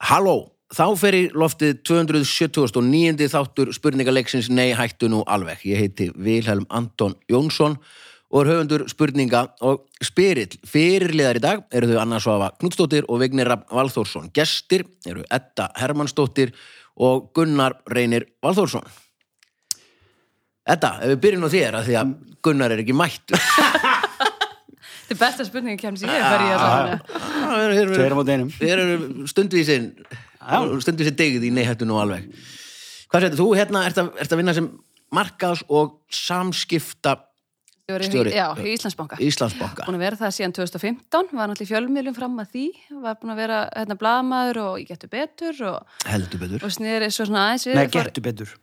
Halló, þá fer í loftið 279. þáttur spurningaleiksins Nei hættu nú alveg. Ég heiti Vilhelm Anton Jónsson og er höfundur spurninga og spyrill. Fyrirliðar í dag eru þau Anna Svafa Knútsdóttir og Vignir Rapp Valþórsson. Gestir eru Edda Hermannsdóttir og Gunnar Reynir Valþórsson. Edda, ef við byrjum á þér að því að Gunnar er ekki mættur. Þetta er besta spurningi kemur sem ég er verið í ah, allavega. Tveir Hérna. Tveir á móti einum. Þér eru stundvísin stundvísin digð í neyhættu nú alveg Hvað sér þú hérna ert að, ert að vinna sem markaðs og samskipta Stjóri. Já, í Íslandsbanka. í Íslandsbanka Búin að vera það síðan 2015, var náttúrulega í fjölmiðlum fram að því, var búin að vera hérna blaðamaður og ég getur betur og, heldur betur og snýri svo svona aðeins við Nei, fór, gertu betur.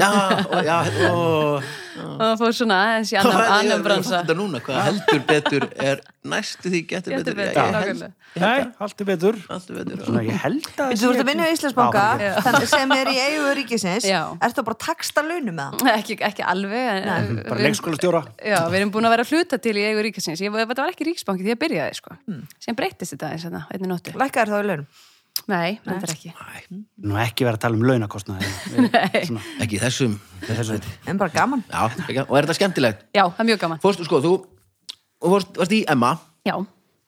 Já, og, já, og, og fór svona aðeins Hérna, í annan, annan bransa. Þetta núna, hvað heldur betur er næstu því getur, Getur betur, Já, betur, ég held- nákvæmlega. Nei, haltu betur. heldur betur Svona, ég held að... Þú ert að vinna í Íslandsbanka Já, þannig sem er í eigu ríkisins Já. Ert það bara að taksta launum með það? Ekki, ekki alveg. en- Nei. Bara við- leikskólastjóra. Já, við erum búin að vera að fluta til í eigu ríkisins. Ég, þetta var ekki ríksbanki því ég byrjaði, sko. Mm. Sem breytist þetta eins og það, einni nóttu. Lækkaður þá í launum? Nei, þetta er ekki. Nú ekki vera að tala um launakostnaði. Nei. Ekki í þessum Þessu. En bara gaman Já, ekki, og er þetta skemmtilegt Já, það er mjög gaman. Fórstu, sko, þú þú fórst, varst í Emma Já,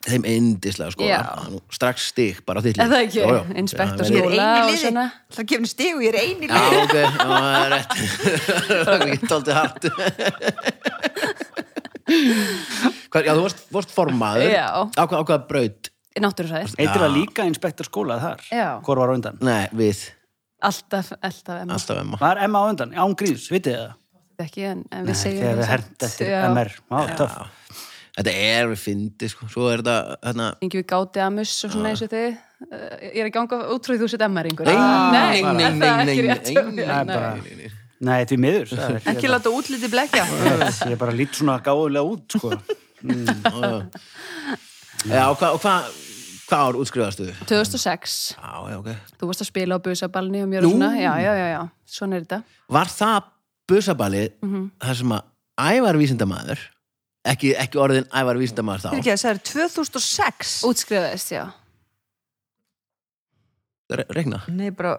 þeim indislega sko Já. það er nú strax stig bara á þitt er lið það ekki. Jó, jó. Inspekt og Já, Ég er skóla eini og liði svona. Það er gefni stig og ég er eini Já, liði ok, já, það er rétt Það er ekki tóltið hart Hvað, já, þú varst, varst formaður Já. Á hvað, á hvað braut? Náttúrufræði. Eitir það líka inspektor skóla þar? Já. Hvor var á undan? Nei, við, Alltaf, alltaf, en alltaf um emma Var Emma á undan? Án gríðs, vitið þið það? ekki, en, en við segjum Þegar það við hernt samt. eftir Já. MR. Má, töff. Þetta er við fyndi, sko Svo er þetta, hérna Ingi við gáti amus og svona eins og þið. Uh, Ég er að ganga útrúið þú sett MR yngur. Nei, nei, Ah, nei, nei, er nei, það nei, ekki rétt hjá nei, mér? Það er bara... Nei, því miður. það er- Ekki láta útliti blekja Ég er bara lít svona gáðulega út, sko. Já, og hvað, og hvað, hvað ár útskrifastu? 2006, Já, já, ok þú varst að spila á busabalni og mjög og Nú. svona, já, já, já, já, svona er þetta. Mhm. Var það busabali þar sem að Ævar vísindamaður ekki, ekki orðin Ævar vísindamaður þá Fyrir ekki að það er 2006 Útskrifaðist, já. Re- Reikna Nei, bara,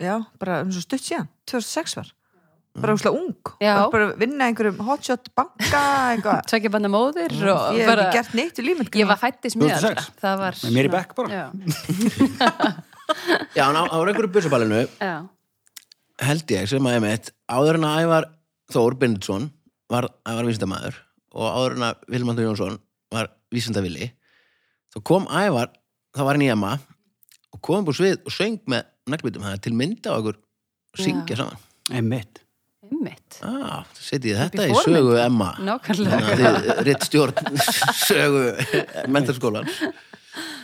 já, bara um svo stutt síðan 2006 var Mm. Bara úslega ung Já. Var Bara að vinna einhverjum hotshot banka eitthvað Tvekja banda móðir og Ég hef bara, ekki gert neitt í sko. lífmynd ég var fættist mjög 2006. Það var Með mér í svona- bekk bara. Já, Já, ná, það var einhverju busaballinu já, held ég sem að einmitt áður en að Ævar Þór Bindtsson var Ævar vísindamæður og áður en að Vilmandur Jónsson var vísindavilli þá kom Ævar, þá var hann í Emma og kom upp á svið og söng með naglbítum það er til mynda á okkur syngja saman Einmitt. einmitt. ah, það setjið þetta í Upp í sögu Emma Nákvæmlega. Þannig að þið rétt stjórn sögu mentarskólan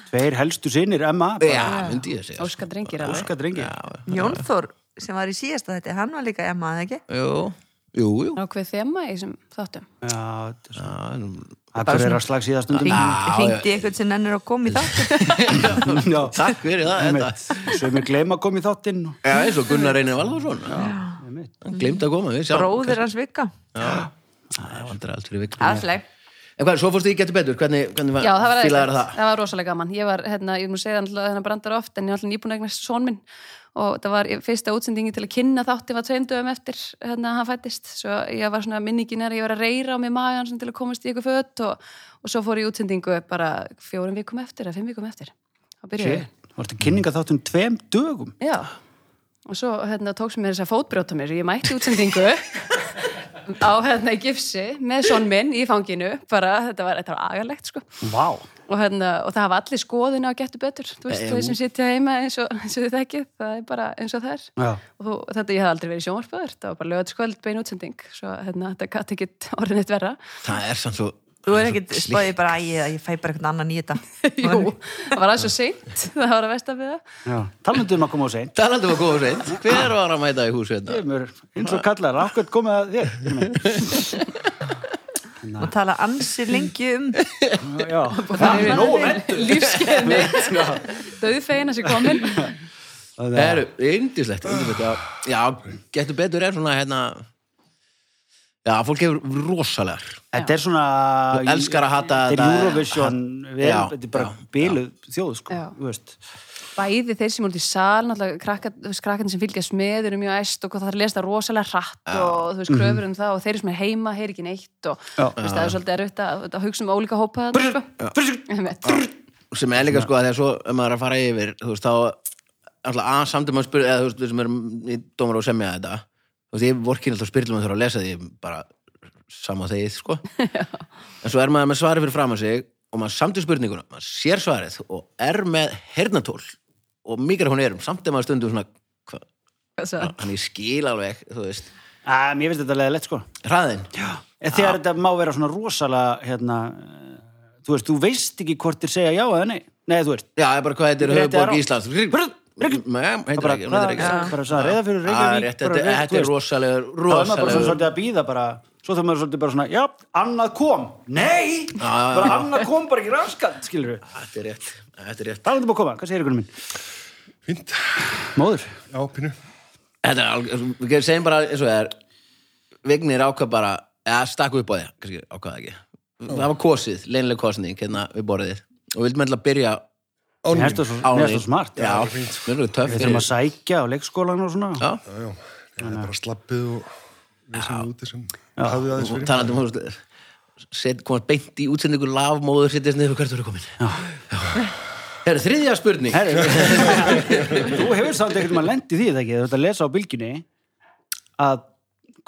Tveir helstu sinir, Emma. bara- Já, myndi ég að segja Óskar drengir alveg. Óskar drengi. Jónþór sem var í síðasta þetta Hann var líka Emma, eða ekki? Jú, jú, jú Nákvæð þema í þessum þáttum. Já, þetta er svona- Já, nú- Akkur er að slags í það stundum. Hringdi eitthvað sem ennur að koma í þátt Já, Takk fyrir það þetta. sem er gleyma að koma í þáttinn. og- Já, eins og Gunnar Reynir Valvarsson Einmitt. Hann glemt að koma, við sjáum Bróðir hans vika Það vandrar allt fyrir vikna Alltaf En hvað, svo fórstu í Getur betur, hvernig, hvernig var, Já, það var, fílaðir æðislegt. það? það var rosalega gaman. Ég var, hérna, ég múið segja alltaf þennan brandar oft, en ég var alltaf nýbúin að eignast són minn og það var ég- fyrsta útsendingin til að kynna þátti var tveim dögum eftir hérna hann fættist. Svo ég var svona minningin er að ég var að reyra á mig magan svona, til að komast í eitthvað fött og, og svo fór ég í útsendingu bara fjórum vikum eftir eða fimm vikum eftir. Það byrjaði. Shit, Þú varst að kynninga þáttum tveim dögum. Já. Og svo hérna, tók sem mér þess að fótbrjóta mér. Ég mætti í útsendingu á hérna í gifsi með són minn í fanginu. Bara þetta var, þetta var agalegt sko. Vá. og, hérna, og það hafa allir skoðinu að getur betur þú veist, Em. þau sem sitja heima eins og, eins og þið þekkið það er bara eins og það er Já. og þú, þetta ég hef aldrei verið sjónvarpöður það var bara lögatskvöld bein útsending svo hérna, þetta gæti ekkit orðin eitt verra Það er samt svo Þú er ekkert spáðið bara að ég, ég fæ bara eitthvað annan í þetta jú, það var aðeins svo seint það var að vesta við það Já. Talandi um að koma á sein. Talandi var góð reynd, hver var að mæta í hús hérna? Kemur, eins og kallar, akkur komið að þér. Grímur? og tala ansi lengi um Já. Það er nógu vel. lífskeið mitt döðfeina sem komin Það eru yndislegt, yndislegt já. já, Getur betur er svona hérna Já, fólk hefur rosalegar Þetta er svona... Þú elskar að hata þetta. þetta. Þetta eh, er Eurovision, við Já, erum þetta er bara já, bíluð þjóð, sko. Já. Þú veist. bæði þeir sem eru út í sal náttúrulega krakka, þú veist, krakkarnir sem fylgjast með eru mjög æst og hvað það er að lesa það rosalega hratt og þú veist, kröfur um það og þeir sem er heima heyri ekki neitt og Já. þú veist, það er svolítið erfitt að, að hugsa um ólíka hópa þarna, sko. Einmitt. sem er líka sko að þegar svo ef maður er að fara yfir þú veist þá alltaf að samt um að spyrja eða þú veist við sem erum í dómar og semja þetta þú veist ég vorkin alltaf spyrlum að þurfa að lesa því bara sama þegið sko en svo er maður með svarið fyrir fram að sig og maður samt í spurninguna, maður sér svarið og er með hernatól og mikið hún erum, samt ef maður stundum svona hva, Hvað svo? hann ég skil alveg, þú veist Æ, Mér finnst þetta leða lett sko hraðin, En Þegar þetta má vera svona rosalega hérna, eh, þú veist, þú veist ekki hvort þér segja já eða nei Nei, þú veist já, ég bara hvað þetta er Rétt eða höfuborg rangt? Íslands Nei, Brr, brr. heitir bara, ekki, hún hvað- heitir ekki já, bara svona reyða fyrir Það er Reykjavík, rétt, bara þetta- reyða- þú þetta er veist. rosalega þá er maður bara svona rosalega svolítið að býða bara svo þarf maður svolítið bara svona, já, annað kom nei, já, bara annað kom bara ekki raskat, skilur við, Þetta er rétt, þetta er rétt. það er þetta búið að koma hvað segir ykkur minn? Fínt. Móður, Já, pínu. Þetta er alveg, við segjum bara eins og það er, Vignir ákvað bara, eða stakk upp á því, kannski ákvað það ekki. Það var kosið, leinlega kosning, hérna við borðið. Og við vildum endla byrja á mér Ánum. erstu svo, mér erstu svo smart Já, er fínt. við erum töff við þurfum að sækja á leikskólan og svona Já, Já, já. Það er bara slappið og við sem erum úti sem hafið aðeins fyrir. talandi um, þú veist, set, komast beint í útsendingu lafmóður, sittist niður hvert þú eru komin. Já. Það er þriðja spurning. Herri, þú hefur samt ekkert maður lent í því það ekki, þú ert að lesa á bylginni að,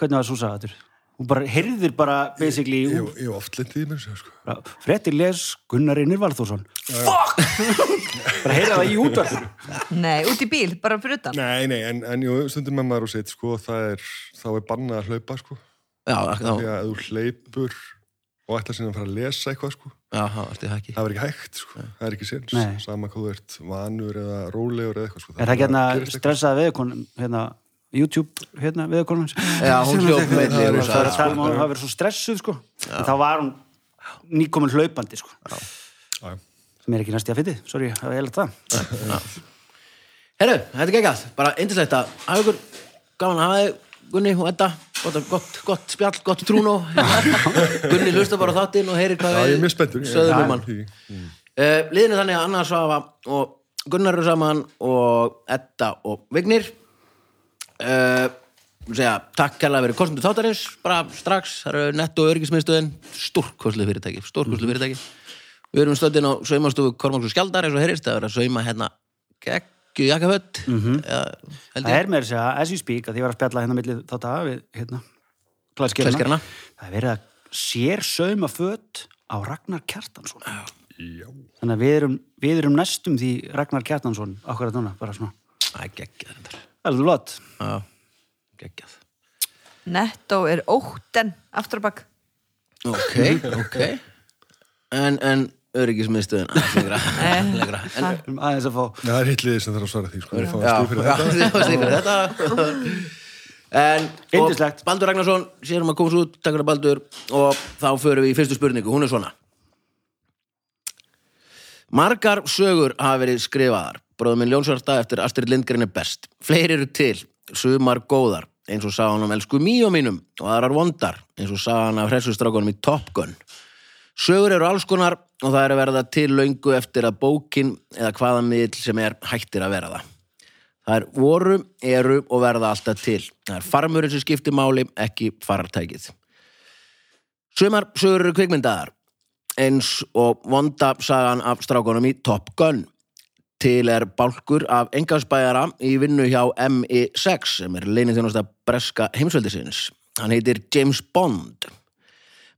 hvernig var Súsa þetta hún bara, heyrðir bara basically, Ég jú, ég hef oft lendið í mér, sér, sko. frettir les Gunnar Einir Valþórsson fuck bara heyrða það í útvarpinu Nei, út í bíl, bara fyrir utan. Nei, nei, en, en jú, stundum með maður og sitt, sko, það er, þá er bannað að hlaupa, sko. Já, já, Því að ef þú hleypur og ætlar sinna að fara að lesa eitthvað, sko, já, allt í haki. það verður ekki hægt, sko. Það er ekki séns. Nei. Sama hvað þú ert vanur eða rólegur eða eitthvað, sko. Er það ekki bara hérna gerist eitthvað. stressaða veðurkonum, hérna, YouTube, hérna, veðurkonum hans? Já, hún hljóf með Það er því. rosa- Það er að tala um að hún hafa verið svo stressuð, sko. En þá var hún nýkomin hlaupandi, sko. Já, já. Sem er ekki næst í að fyndi, sorry, það var eða það. Herru, þetta er geggjað, bara indislegt að hafa ykkur gaman að hafa þig Gunni og Edda, gott, gott, gott spjall, gott trúnó Gunni hlusta bara á þáttinn og heyrir hvað Já, ég er mjög spenntur. sögðum um hann Því- uh, Liðin er þannig að Anna Svafa og Gunnar eru saman og Edda og Vignir uh, segja, takk kærlega fyrir kostnum þáttarins, bara strax það eru netto örgismiðstöðin, stórkostlið fyrirtæki stórkostlið fyrirtæki Við erum stöðin á saumastofu Kormáks og Skjaldar eins og heyrist, það er að sauma hérna geggju jakkafött mm -hmm. Það er með þess að, as you speak, að því ég var að spjalla hérna millið þá það við, hérna, Klæðskerana. klæðskerna. Það er verið að sér sauma föt á Ragnar Kjartansson. Já. Þannig að við erum, við erum næstum því Ragnar Kjartansson, akkurat núna, bara svona. Æ, geggjað þetta Alveg lott. Já, geggjað Netto er óttan, aftur á bakk. Ok, ok En, en öryggismiðstöðin aðeins lengra, lengra. En, Við erum aðeins að fá, Nei, Það er hitt liðið sem þarf að svara því, sko. Ég fá að Já, stíð fyrir já, þetta. þið fáið stig fyrir þetta En og Yndislegt. Baldur Ragnarsson, sérum að komast út takk fyrir Baldur og þá förum við í fyrstu spurningu, hún er svona Margar sögur hafa verið skrifaðar Bróðum minn Ljónsvarta eftir Astrid Lindgren er best Fleiri eru til, sumar góðar eins og sagan um elsku míó mínum og aðrar vondar, eins og sagan af hressustrákunum í Top Gun Sögur eru alls konar og það er að verða til löngu eftir að bókin eða hvaða miðl sem er hættir að vera það. Það er voru, eru og verða alltaf til. Það er farmurinn sem skiptir máli, ekki farartækið. Sumar sögur eru kvikmyndaðar eins og vonda sagan af strákunum í Top Gun. Til er bálkur af engansbæjara í vinnu hjá MI6 sem er leinið þjónast að breska heimsveldisins. Hann heitir James Bond.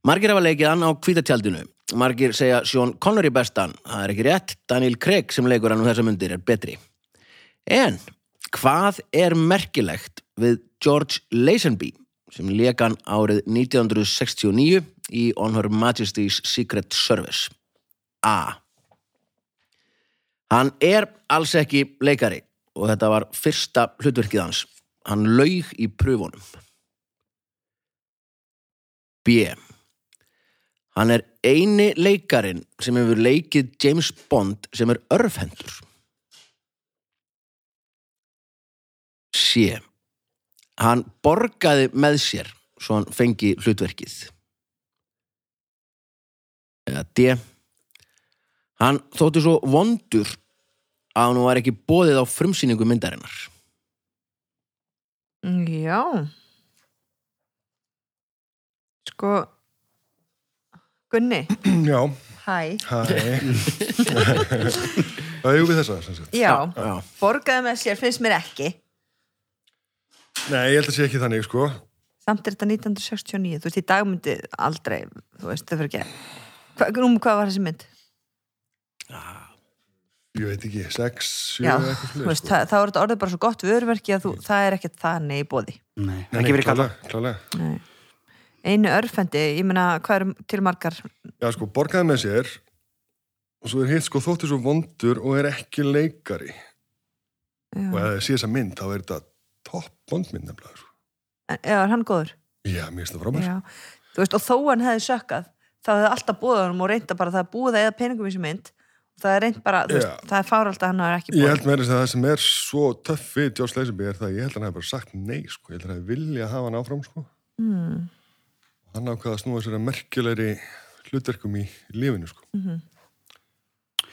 Margir hafa leikið hann á kvítatjaldinu. Margir segja Sean Connery bestan. Það er ekki rétt. Daniel Craig sem leikur hann um þessa mundir er betri. En hvað er merkilegt við George Lazenby sem leik hann árið 1969 í On Her Majesty's Secret Service? A. Hann er alls ekki leikari og þetta var fyrsta hlutverkið hans. Hann laug í pröfunum. B. Hann er eini leikarin sem hefur leikið James Bond sem er örfhendur. C. Hann borgaði með sér svo hann fengi hlutverkið. Eða D. Hann þótti svo vondur að hún var ekki bóðið á frumsýningu myndarinnar. Já. Sko, Gunni, Já, hæ. hæ Það er jú við þessa sem sagt. Já, Já. borgaði með sér finnst mér ekki. Nei, ég held að sé ekki þannig sko Samt er þetta 1969, þú veist, í dag myndi aldrei, þú veist, það fyrir ekki. Hva, um hvað var þessi mynd? Ég veit ekki, sex, sjö Já, eitthvað þú svoleiðis, sko. veist, það, það voru þetta orðið bara svo gott vörverki að þú, það er ekkert þannig í bóði. Nei, Nei, ekki nei, verið kalla. klálega, klálega. Einu örfendi, ég meina, hvað eru til margar? Já, sko, borgaði með sér og svo er hitt sko þóttir svo vondur og er ekki leikari og Já, ef það sé þessa mynd, þá er þetta topp vondmynd nefnilega sko. já er hann góður? Já, mér finnst það frábær Já, þú veist, og þó hann hefði sökkað þá hefði alltaf búið honum og reynda bara það er búið að eða peningum í þessu mynd og það er reynd bara, þú veist, Já. það er fáralt að hann er ekki Ég búið held meira þess að það sem er svo töff við Joss Leisenby er það að ég held að hann hef bara sagt nei sko, ég held að hann vilja hafa hann áfram sko. mm, Hann ákvaða að snúa sér að merkilegri hlutverkum í lífinu sko. Mm Mhm.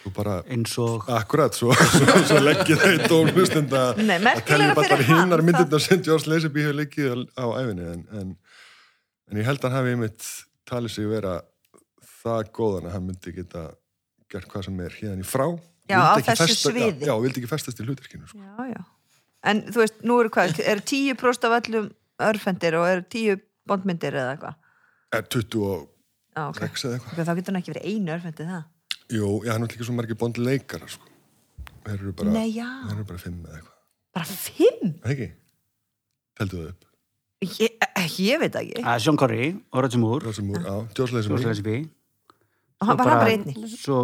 Þú bara, Eins og... akkurat, svo, svo, svo leggir það í dóm hlustenda að- Nei, að telja merkilega upp allar fyrir hann hinnar það- myndirnar sem Joss Leisenby hefur leggið á æfinni en, en, en ég held að hann hafi einmitt talið sig vera það góðan að hann myndi geta gert hvað sem er hérna í frá Já, Vildi á ekki þessu festa- sviði. Já, já, vildi ekki festast í hlutverkinu sko. Já, já En þú veist, nú eru hvað, eru tíu próst af öllum örfendir og eru tíu bondmyndir eða eitthvað Er 26 Já, ok, eða eitthvað okay þá getur hann ekki verið einu örfendi það Jú, já, hann er náttúrulega ekki svo margir bond leikara sko. Þeir eru bara Nei, já, Þeir eru bara fimm eða eitthvað bara fimm Það ekki? Teldu það upp Ég, ég veit það ekki, Uh, Sean Corey og Roger Moore, Rosa Moore, Ah. já, Joss Leysum Roger Lesby. hann var hann bara einni Svo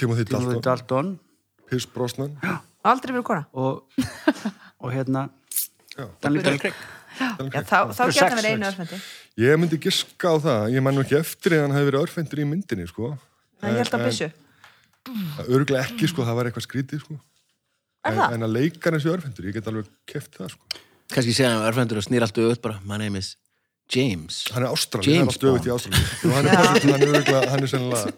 Timothy Timothy Dalton, Dalton Pierce Brosnan aldrei verið kona og, og hérna... Já. Daniel Craig. Já, þá, þá Sex, getur hann verið einu sex. örfendi Ég myndi giska á það Ég man nú ekki eftir eða hann hafi verið örfendur í myndinni sko. Ég held að byssu, Öruglega ekki, sko, það var eitthvað skrítið sko. er en, það? en að leikar eins og örfendur Ég get alveg keft það sko. Kanski segja hann örfendur og snýr alltaf upp bara, my name is James. Hann er ástrali, James hann er stöðut í ástrali Og hann er, hann er, hann er, örugglega- hann er sennilega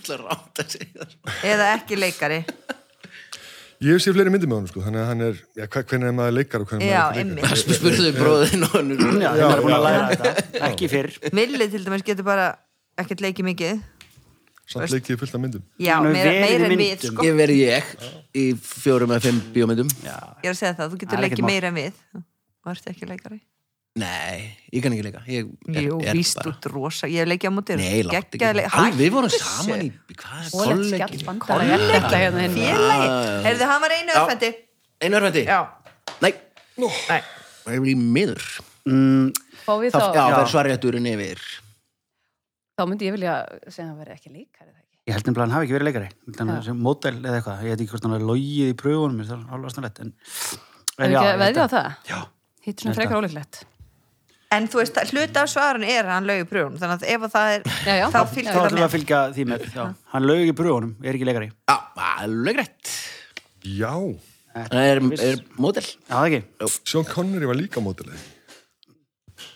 Það er rámt að segja það. Eða ekki leikari Ég hef séð fleiri myndir með honum, sko, þannig að hann er, já, hva- hvernig er maður leikar og hvernig Já, maður er ekki leikar. einmitt. Spurðu bróðin og hann Já, er... þeim er búin að læra þetta. Ekki fyrr. Milli til dæmis getur bara ekkert leikið mikið Samt leikið fullt af myndum. Já, Hann hefur meira, verið í meira en við myndum. sko. Ég verði ég í fjórum eða fimm bíómyndum. Ég er að segja það, þú Það er getur ekkert leikið mál. meira en við Og ertu ekki leikari Nei, ég kann ekki leika. Ég er, Jú, er víst bara... út rosa, ég hef leikið á mótir Nei, látt ekki. Hæ, við vorum saman í... Hvað er kollegi? Kollega hérna hinn Félagi, Ah. heyrðu, hann var einu Já. örfendi Einu örfendi? Já, Nei, nei það er í miður. Mm, Fá við Það, já, þá, það er svarjætturinn yfir. þá myndi ég vilja segja að hann veri ekki líkari það ekki. Ég held nefnilega að hann hafi ekki verið leikari Þannig Já. sem mótel eða eitthvað Ég veit ekki hvort hann hafi logið í pröfunum Það er alveg snarlegt En, Það er ekki að veðja á þetta- það? Já, Hitt svona Þetta- frekar ólíklegt. En þú veist, hlut af svarun er að hann laugi pröfun Þannig að ef að það er, Já, já. þá þá fylgir ætlum það við að með fylgja því með já. Hann laug í pröfunum, er ekki leikari Já, alveg rétt. Já, Það er, Viss. er mótel. Já, það ekki Sean Connery var líka mótileg.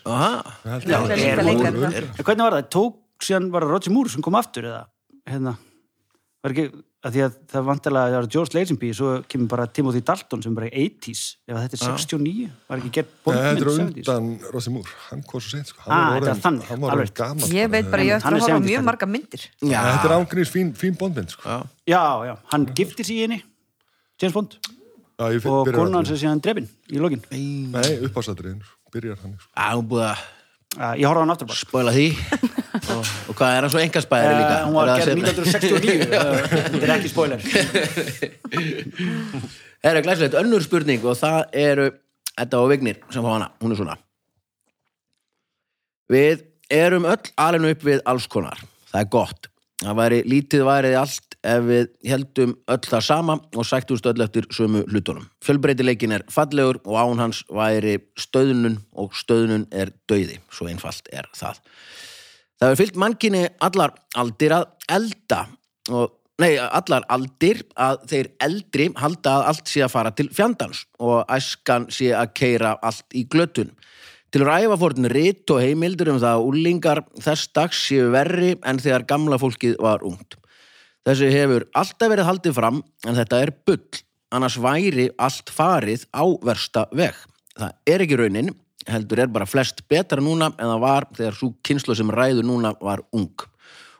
Aha. Já, er líka leikari, það. er- En hvernig var það? Tók síðan var það Roger Moore sem kom aftur eða Hérna Var ekki að Því að það vantilega að það var George Lazenby Svo kemur bara Timothy Dalton sem bara er 80s Ef þetta er 69 Var ekki gert Þetta bóndmynd er á 70s undan Rossi Moore, hann kom svo seint sko. Hann Ah, þetta var er orðinn- þannig, Hann var orðin alveg. gammal. Ég veit bara, ég Hann eftir er að horfa á 70s mjög leikari. marga myndir Já. Þetta er ángríns fín, fín bondmynd sko. Já. Já, já, hann giftir sig í henni James Bond Já, ég Og byrjar konan hann. sem síðan drefin í lokin Nei, uppásatriðin, byrjar hann sko. Já, hún búið að Uh, ég horfði á hann aftur bara. spoila því. og, og hvað er hann svo engarspæðari líka? Uh, hún var Er það gerð sem- 1969. uh, Þetta er ekki spoiler. Það er glæsilegt önnur spurning og það eru Edda og Vignir sem fá hana, hún er svona Við erum öll alinu upp við alls konar það er gott, það væri lítið værið allt ef við heldum öll það sama og sættumst öll eftir sömu hlutunum. Fjölbreytileikin er fallegur og án hans væri stöðnun og stöðnun er döiði svo einfalt er það Það hefur fyllt mannkinni allar aldir að elda og, nei, allar aldir að þeir eldri halda að allt sé að fara til fjandans og æskan sé að keira allt í glötun. Til ræfa fórn rit og heimildur um það að úlingar þess dags séu verri en þegar gamla fólkið var ungt. Þessu hefur alltaf verið haldið fram en þetta er bull, annars væri allt farið á versta veg. Það er ekki raunin, heldur er bara flest betra núna en það var þegar svo kynslu sem ræður núna var ung.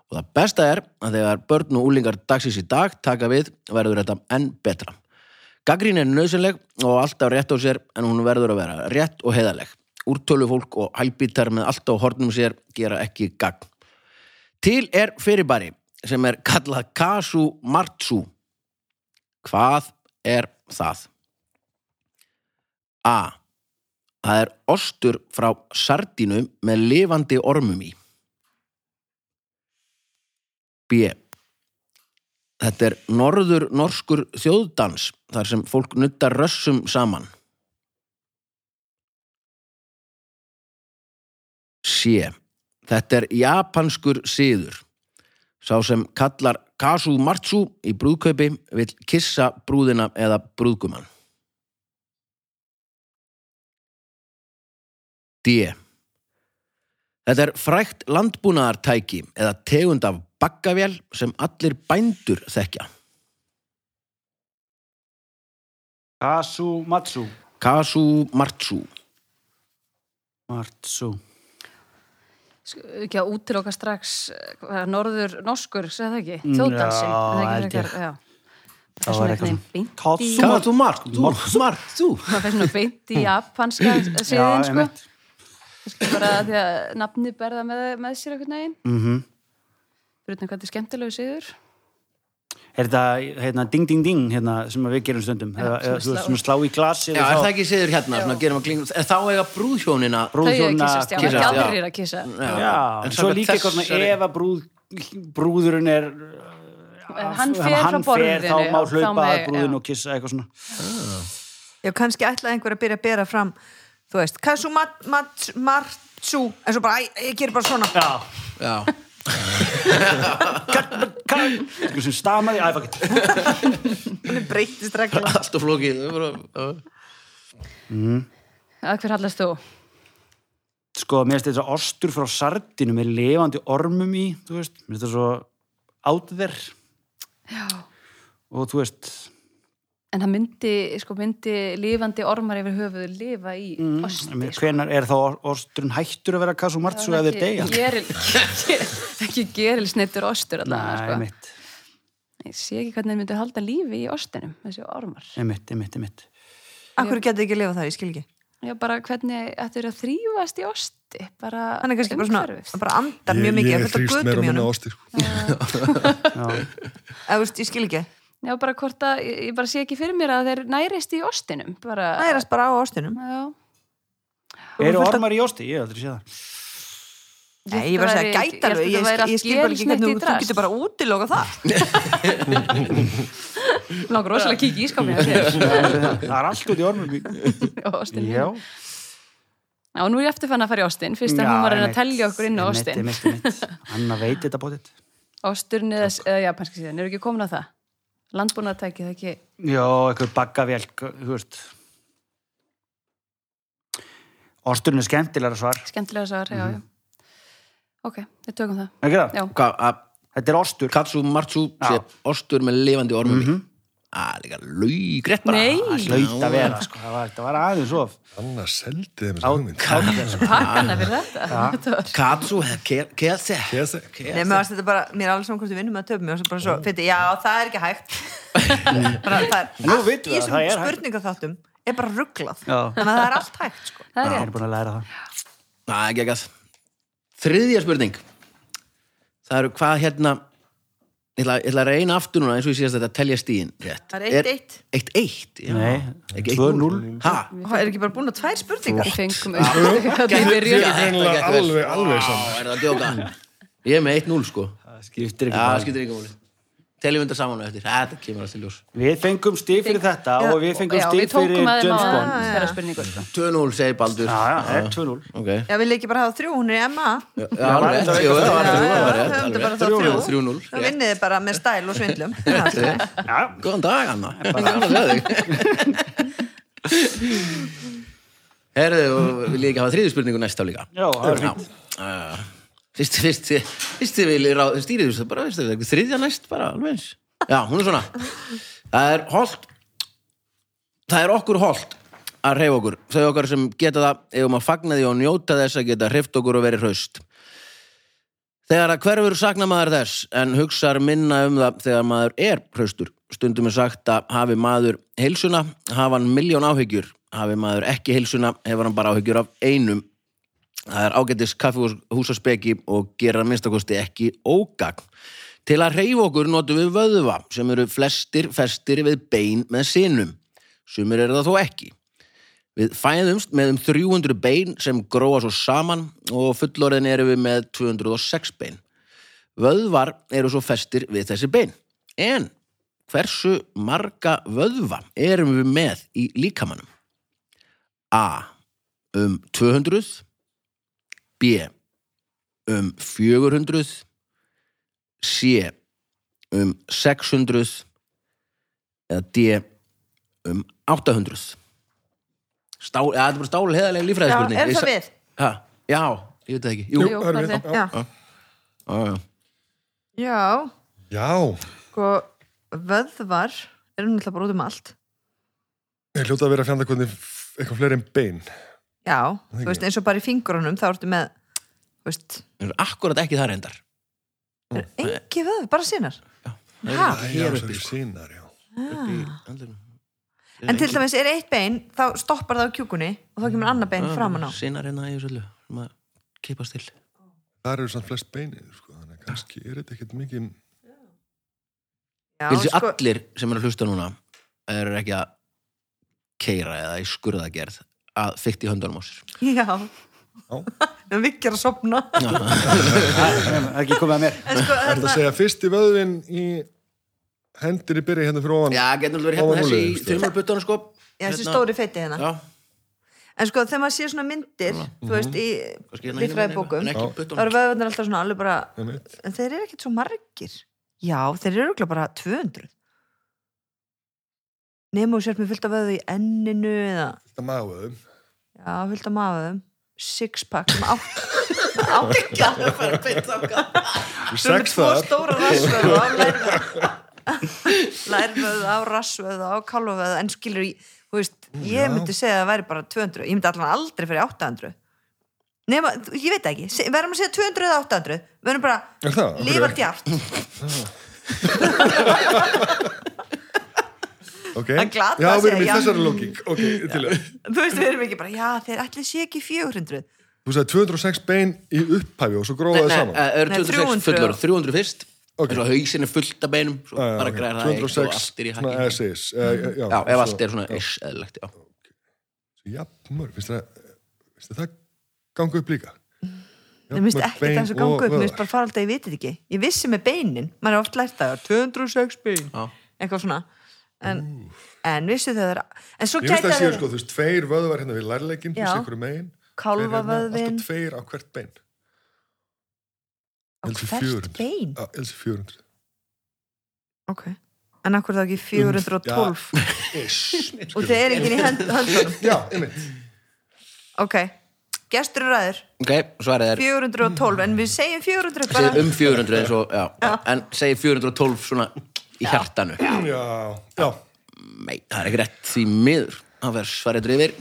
Og það besta er að þegar börn og úlingar dagsins í dag taka við verður þetta enn betra. Gagrín er nöðsynleg og alltaf rétt á sér en hún verður að vera rétt og heiðaleg. Úrtölu fólk og hælbítar með allt á hornum sér gera ekki gagn. Til er fyrirbæri sem er kallað Kasu Martsu. Hvað er það? A. Það er ostur frá sardínu með lifandi ormum í. B. Þetta er norður norskur þjóðdans þar sem fólk nuttar rössum saman. C. Þetta er japanskur siður. Sá sem kallar Kasu Martsu í brúðkaupi vill kissa brúðina eða brúðgumann. D. Þetta er frækt landbúnaðartæki eða tegund af baggavél sem allir bændur þekkja. Kasu Matsu. Kasu Martsu. Matsu. Sk- ekki að útiloka strax eh, hvað er, norður norskur, segja það ekki þjóðdansi Mm, Já, er það ekki held ég. frekar- já. Það það var er eitthvað svona beint í Katsu Kasu Martsu. Martsu. það fæst svona beint í japanska Já, síðin sko einmitt. Kannski bara að því að nafni berða með, með sér einhvern veginn mm Mhm. -hmm. brutna hvað þetta er skemmtilegu síður Er þetta hérna, ding ding ding hérna, sem að við gerum stundum? Eða, eða, þú veist, svona slá í glasi Já, er það ekki siður hérna? Svona, gerum að klingum, er þá eiga brúðhjónina þau eru að brúðhjóna kyssast, já, kyssast, ekki já. aldrei er að kissa Já, en svo samkvæmt líka eitthvað svona þessari- ef að brúð, brúðurinn er ef hann fer frá hann fer, borðinu þá má já, hlaupa þá að megi- brúðin já. og kissa eitthvað svona Já, kannski ætlaði einhver að byrja að bera fram þú veist, Kasu Mat- Mat- Martsu en svo bara, æ, ég ger bara svona Já, Já, eitthvað Sko, sem stamaði Æ, fuck it. hann breytist regla allt og flókið. Það er bara- að hver hallast þú? Sko, mér finnst þetta ostur frá sardinu með levandi ormum í, þú veist mér finnst þetta svo átver Já. og þú veist en það myndi, sko, myndi lifandi ormar yfir höfuðu lifa í Mm, osti sko. hvenar er þá osturinn hættur að vera kasumatsu ef þeir deyja? geril, ekki gerilsneittur ostur allavega, sko. Nei, mitt, ég sé ekki hvernig þeir myndu halda lífi í ostinum þessi ormar mitt, mitt, mitt Akkur getur ekki að lifa það, ég skil ekki já, bara hvernig ættu þeir að þrýfast í osti bara hann er kannski bara svona, umhverfið. hann bara andar mjög Ég, mikið ég það er fullt af þrýst meira götum og í minna sko. honum. ástir. Eða, þú veist, ég skil ekki, já, bara hvort að, ég ég bara sé ekki fyrir mér að þeir nærist í ostinum bara, nærast bara á ástinum já Eru ormar í osti? Ég hef aldrei séð það Nei, ég var að segja bara- gæta alveg, ég ég, held að það væri ég, allt ég skil bara ekki gerilsneytt í hvernig þú- þú drasl. getur bara útiloga það langar rosalega að kíkja í ískapin Það er allt út í ormum í Já, Já, og nú er ég eftirfann að fara í Austin, fyrst að Já, hún var að reyna að einmitt. telja okkur inn á Einmitt, Austin. einmitt, einmitt. Anna veit þetta bótið Austurinn eða, eða japanski síðan, eru ekki komin á það? Landbúnaðartækið, það ekki? Já, eitthvað baggavél þú veist Osturinn er skemmtilegra svar Skemmtilega svar, já, Mhm. já. Ok, við tökum það. Ekki það? Já. Hvað, að Þetta er ostur Katsu Martsu Já. sé ostur með lifandi ormum í? Það er líka laugrætt bara. Ah, Nei. Hlaut að vera, sko, það var, það var aðeins of Anna seldi þeim þessu hugmynd. Ah. Pakkana fyrir þetta. þetta var... Katsu, kese. Kese. Nei, mér varst þetta bara, mér er alls saman hvort við vinnum að töfum og svo bara svo, fyrir, já, það er ekki hægt bara, það er Nú vitum við í að það er þessum hægt. spurningaþáttum er bara rugglað, Já. þannig að það er allt hægt sko. Það Ég er er rétt. búin að læra það Það er geggjað. Ah, Þriðja spurning. Það eru hvað hérna, ég ætla, ég ætla að reyna aftur núna eins og ég síðast þetta að telja stíðin rétt. Það er 1-1. Eitt eitt, já. Nei, Ekki eitt 2-0. núll. Ha? og það er ekki bara búin að tvær spurningar Við fengum auðvitað í byrjun. Þetta er greinilega Þetta gekk vel. alveg- alveg Vá, saman. Er það að djóka? Ég er með 1-0 sko. Það skiptir Já, ekki það máli. skiptir ekki múli. Teljum þetta saman á eftir. Þetta kemur alltaf í ljós. Við fengum stig fyrir þetta og við fengum Já, stig við fyrir tókum að þeim á James Bond að vera spurningur. 2-0 segir Baldur. Já, já, það er 2-0 Ok. já, við leikir bara að hafa þrjú, hún er í MA Já, alveg. þetta var Jú, það var Já, þrjú, það já, var höfum þetta bara rétt. þá alveg þrjú. rétt. 3-0. þá vinnið þið bara með stæl og svindlum Það er allt í lagi. Já, Góðan dag, Anna. Bara að þig. Herðu, og vil ég ekki hafa þriðju spurningu næst á líka? já, það er fínt Uh, fyrst, fyrst, fyrst þið viljið ráð stýrið þessu, bara fyrst þið viljið, þriðja næst bara, alveg eins. Já, hún er svona. Það er holdt, það er okkur holdt að reyfa okkur. Þau okkar sem geta það, eigum að fagna því og njóta þess að geta hreyft okkur og verið hraust. Þegar að hverfur sakna maður þess en hugsar minna um það þegar maður er hraustur. Stundum er sagt að hafi maður heilsuna, hafa hann miljón áhyggjur. Hafi maður ekki heilsuna, hefur hann bara áhyggjur af einum. Það er ágætis kaffihúsaspeki og gera að minnstakosti ekki ógagn. Til að reyfa okkur notum við vöðva sem eru flestir festir við bein með sinum. Sumir eru það þó ekki. Við fæðumst með um 300 bein sem gróa svo saman og fullorðin eru við með 206 bein. Vöðvar eru svo festir við þessi bein. En hversu marga vöðva erum við með í líkamanum? A. Um 200 B. Um 400 C. Um 600 eða D. Um 800 Stál, ja, þetta er bara stáli heðalega Já, lífræðispurning er Ég það sa- við? Ha, já, ég veit það ekki Jú, Jú, það er það er við. þið. Já, já, já. já Já, sko, vöðvar eru náttúrulega bara út um allt ég hljóta að vera að fjanda hvernig f- eitthvað fleiri en bein. Já, ekki. þú veist, eins og bara í fingrunum þá ertu með, þú veist Það er akkurat ekki það reyndar er engi vöðvar, bara sínar Ha? Það er Já, hér það uppi, eru sko, sínar, já. upp í andlinu. Það er En til engin- Mm. dæmis er eitt bein, þá stoppar það á kjúkunni og þá kemur annað bein Já, framan á Sinar hérna í þessu öllu sem að kipast til Það eru samt flest beinir, sko, þannig að kannski er þetta ekkert mikið... Já, Vilsi sko, allir sem eru að hlusta núna eru ekki að keira eða í skurðagerð að fykti höndunum á sér já Já. En vikir að sopna Það er ekki komið að mér. En sko, Það er þetta að þarna, segja fyrst í vöðvin í hendir í byrja hérna fyrir ofan. Já, getur alveg verið Ofan hérna þessi úlnliðum, í sko. þumalbuttunum sko já, þessi Hérna- stóri feiti hérna Já, Hérna. En sko þegar maður sér svona myndir þú veist í kannski hérna lífræðibókum hérna, en þá ekki Já. buttunum. eru vöðvarnir alltaf svona alveg bara Einmitt. en þeir eru ekkert svo margir Já, þeir eru örugglega bara 200 Nefnum þú sért með fullt af vöðu í enninu eða Þetta máuðum. já, fullt af maðum six pack sem átt átta Bara beint þangað. sem er Sex tvo þar. stóra rassvöðu á lærvöðu lærvöðu á rassvöðu á kálvöðu en skilur í, þú veist ég já. myndi segja að það væri bara 200 ég myndi allan aldrei fyrir 800 nema, þú- ég veit það ekki, Se- verðum að segja 200 eða 800, við verðum Er bara það? Af hverju lifa ekki? djart, Ok. Það er glatað Já, að við erum í segja. þessari lókík. Ok, til þess. þú veist við erum ekki bara já, þeir ætli sé ekki 400 Þú sagði 206 bein í upphæfi og svo gróðaði Nei, eh, saman. nei, eru Nei, 206 300. fullur, 300 fyrst Ok. okay. og hausin er fullt af beinum svo Já, já, bara ok. græðir það eitt og 206, allt er í svona hækki SIS, eh, Já, Já, ef allt er svona ish eðlilegt, já. Jafnmör, finnst þér að- finnst þér það ganga upp líka? Mér finnst Jafnmörg ekkert bein þess að ganga og upp, mér vöðvar. finnst bara fara alltaf, ég veit þetta ekki. Ég vissi með beinin, maður er oft lært það, 206 bein, Já. eitthvað svona. En, en vissu þau þeirra, en svo Ég finnst gæta það séu þeirra sko, þú veist, tveir vöðvar hérna við lærleikin, þú Já. veist, einhverju megin. tveir hérna, kálfavöðin Alltaf tveir á hvert bein. á Elsi hvert 400. bein. Já, elsi 400. Ok, en akkur það ekki 412 Um, Ish. og þeir er enginn í hönd- höndunum. Já, einmitt. Ok, gestur og ræður, Ok, svarið er 412, en við segjum 400 bara. segir um 400 eins og, já, en segir 412 svona í hjartanu Já, já. Nei, það er ekki rétt því miður Það verður svarið drifir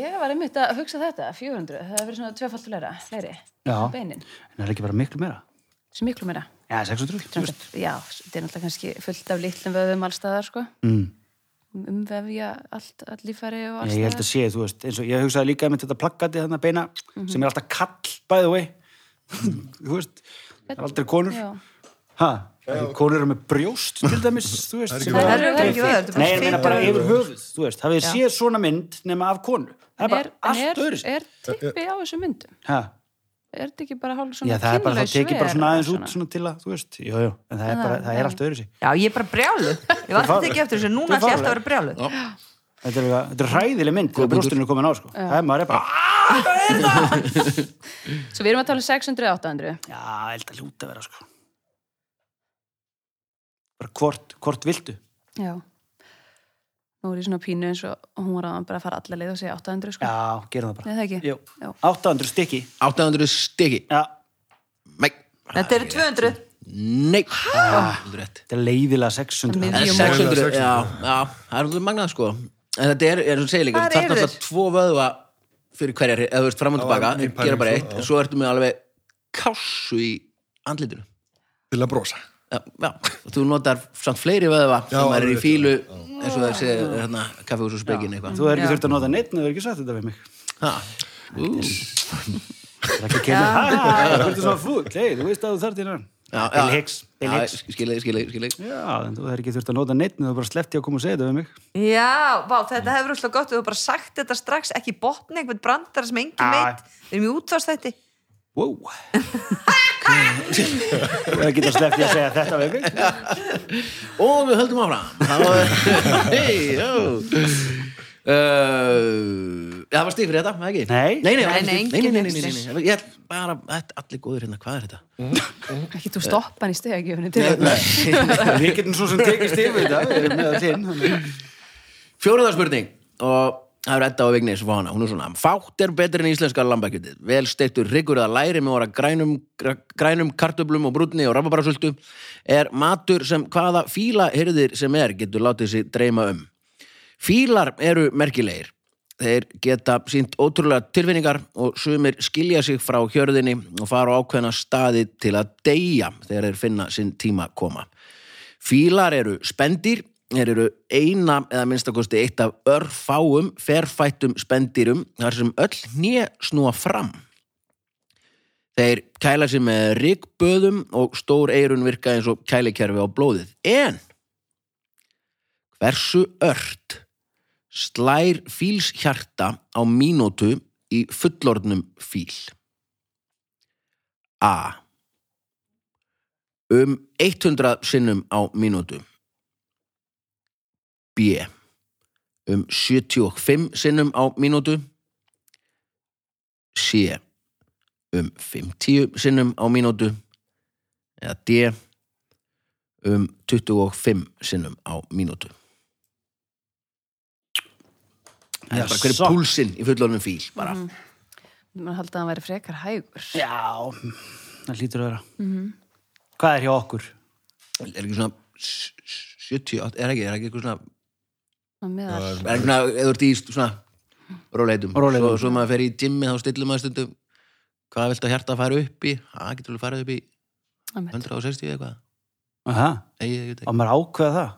Ég var einmitt að hugsa þetta, 400, það hefur verið svona tvöfalt fleira, fleiri, Já. beinin, En það er ekki bara miklu meira. sem miklu meira. Já, 600. þú veist. Já, þetta er náttúrulega kannski fullt af litlum vöðum allstaðar, sko. Mm. Umvefja allt, all lífæri og Ég held allstaðar. að sé, þú veist, eins og ég hugsaði líka með þetta plakkati þannig að beina Mhm. sem er alltaf kall, by the way. þú veist, það er aldrei konur. Já. Ha, ekki konur eru með brjóst til dæmis, þú veist. sem ekki Það er- eru ekki vöður, þetta er Nei, ég meina bara bara yfir 400. höfuð, þú veist, hafið þið séð svona mynd nema af konu. Það er En bara en allt öðru. Er tippi á þessu myndum? Ha, Er þetta ekki bara hálf svona já, það kynlaus Ah, er bara, þá tekið bara ver svona og aðeins út svona til að, þú veist, jú, jú, en það er bara, það er allt öðru sig. Já, ég er bara brjálu. Ég var alltaf ekki eftir þessu, núna ætti ég alltaf að vera brjálu. Þetta er, eitthvað- þetta er hræðileg mynd þegar brjóstinu er komin á, sko. Það er maður er bara, Svo við erum að tala um 600 800. já, ég held að lúta vera, sko. Bara hvort, hvort viltu? Já. Nú er ég svona pínu eins og hún var að bara að fara alla leið og segja 800, sko. Já, gerum það bara. Nei, það ekki. Jú, Já. 800 stykki, 800 stiki já, Þetta eru 200 Nei, Ah, heldur rétt Þetta er leiðilega Það er 600 Eða Jú, 600, 600. já, já, það er alveg magnað sko En þetta er, eins og segir líka, Hvar það er eru náttúrulega þeir? tvo vöðva fyrir hverjar, eða þú veist fram og Já, tilbaka, mín gera bara pæling, sko, eitt já. en svo ertu með alveg kásu í andlitinu til að brosa Já, já, og þú notar samt fleiri vöðva Já, sem maður er í alveg, fílu eins og það sé hérna, kaffehús og spekinn eitthvað Þú er ekki Já. þurft að nota neitt en þú er ekki sagt þetta við mig Ha, ú, Það er ekki að kemja Það er svona fúll Hei, þú veist að þú þarf þín hann Já, já. Bill Hicks Bill Já, Hicks Skilja, skilja, skilja Já, en þú er ekki þurft að nota neitt en þú bara sleppt ég að koma og segja þetta við mig Já, vá, þetta hefur úrslega gott Þú hefur bara sagt þetta strax, ekki botni einhvern brandara sem engin Já. veit Við erum í útvarstætti Wow Þú er ekki þurft sleppt ég að segja þetta við mig Og við höldum áfram Þá- Hey, jó Uh, já, það var stík fyrir þetta, eða ekki? Nei. nei, nei, það var Nei, ekki nei, stig. engin nei, nei, nei, nei, stig. nei, nei. Ég ætl bara, þetta, allir góðir hérna, hvað er þetta? Mhm. Ekki Eh. þú stoppa hann í stegagjöfni til Við getum svo sem tekist yfir þetta Við erum með að þinn Fjóruða spurning og það er Edda og Vignis og hana, hún er svona Fátt er betur en íslenska lambakjötið Vel steiktur hryggur að læri með orða grænum, gra- grænum kartöblum og brúnni og rababarasultu er matur sem hvaða fíla hyrðir sem er getur látið sér dreyma um Fílar eru merkilegir Þeir geta sínt ótrúlega tilfinningar og sumir skilja sig frá hjörðinni og fara á ákveðna staði til að deyja þegar þeir finna sinn tíma koma. Fílar eru spendir, þeir eru eina eða minnstakosti eitt af örfáum, ferfættum spendýrum þar sem öll hnjö snúa fram. Þeir kæla sig með rikböðum og stór eirun virka eins og kælikerfi á blóðið. En hversu ört slær fíls hjarta á mínútu í fullornum fíl? A um 100 sinnum á mínútu B um 75 sinnum á mínútu C um 50 sinnum á mínútu eða D um 25 sinnum á mínútu Það er bara hver Jassá. er púlsinn í fullorðum fíl bara. Man haldi að hann væri frekar hægur Já, það hlýtur að vera Mhm. Hvað er hjá okkur? Er ekki svona s- s- 78, er ekki, er ekki eitthvað svona Svona meðal. Það er svona, eða þú ert í svona róleitum, Rólegheitum. svo, svo maður fer í gymmi þá stillum maður stundum hvað viltu að hjarta að fara upp í, það getur alveg farið upp í Einmitt. 160 eða eitthvað Aha, Nei, ég veit og ekki. maður ákveða það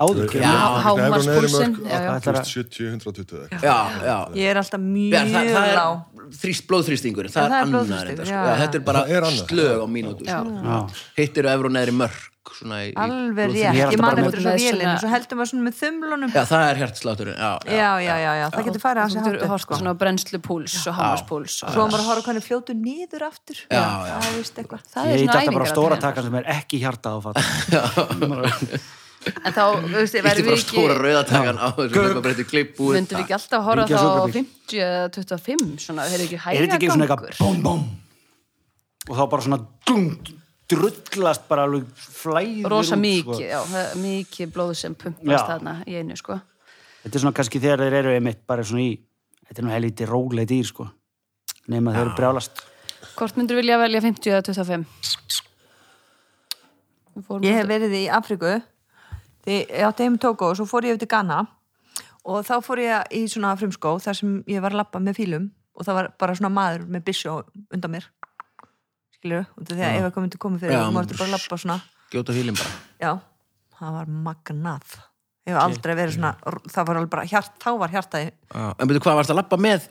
Áður Já, hámarspúlsinn, já, já. Ætlar að- 70, 120 eða eitthvað Já, já, já Ég er alltaf mjög það, það er lág þrýst blóðþrýstingur það er það er annar blóðþrýstingur, þetta sko. já, Já, já. þetta er bara Það er annað. slög á mínútu Já. sko. Já, hittir eru efru neðri mörk svona í, í Alveg blóðþrýstingi. rétt, Ég er ég alltaf man bara með- eftir þessu með vélinu svona- Svo heldur maður svona með þumlunum já, það er hjartslátturinn já, já, já, já, já, já, það getur farið að Þú þessu getur handu hort sko. svona á brennslupúls og hámarspúls og- Svo á maður að horfa hvernig fljótu niður aftur Já, já. Það er vist eitthvað Það er svona Ég heit alltaf æfingar bara á að taka. stóra takan sem er ekki hjarta áfatt En þá, þú veist, hittir verðum við bara stóra ekki rauðatakan á þessu bara breytti klipp búið Myndum við ekki alltaf horfa Ringja þá á sjúkrabíl. 50 eða 25 svona, hefur ekki Er þetta hæga ekki svona eitthvað gangur bóm bóm og þá bara svona dung, drullast bara alveg flæður Rosa út, mikið, sko. já, það er mikið blóð sem pumpast Já. þarna í einu, sko Þetta er svona kannski þegar þeir eru einmitt bara svona í Þetta er nú helviti rólega dýr sko nema þeir eru brjálast Hvort myndur vilja velja 50 eða 25? Við fórum Ég hef út- verið í Afriku því ég átti heim í Tóko og svo fór ég yfir til Ghana og þá fór ég í svona frumskó þar sem ég var að lappa með fílum og það var bara svona maður með byssu á- undan mér skilur, og því að ef eitthvað myndi komið fyrir Já, ja, þú mórtu bara að lappa svona gjóta fílinn bara já, það var magnað ég hef aldrei verið svona það var alveg bara hjart, þá var hjarta í Já, en betur hvað varst að lappa með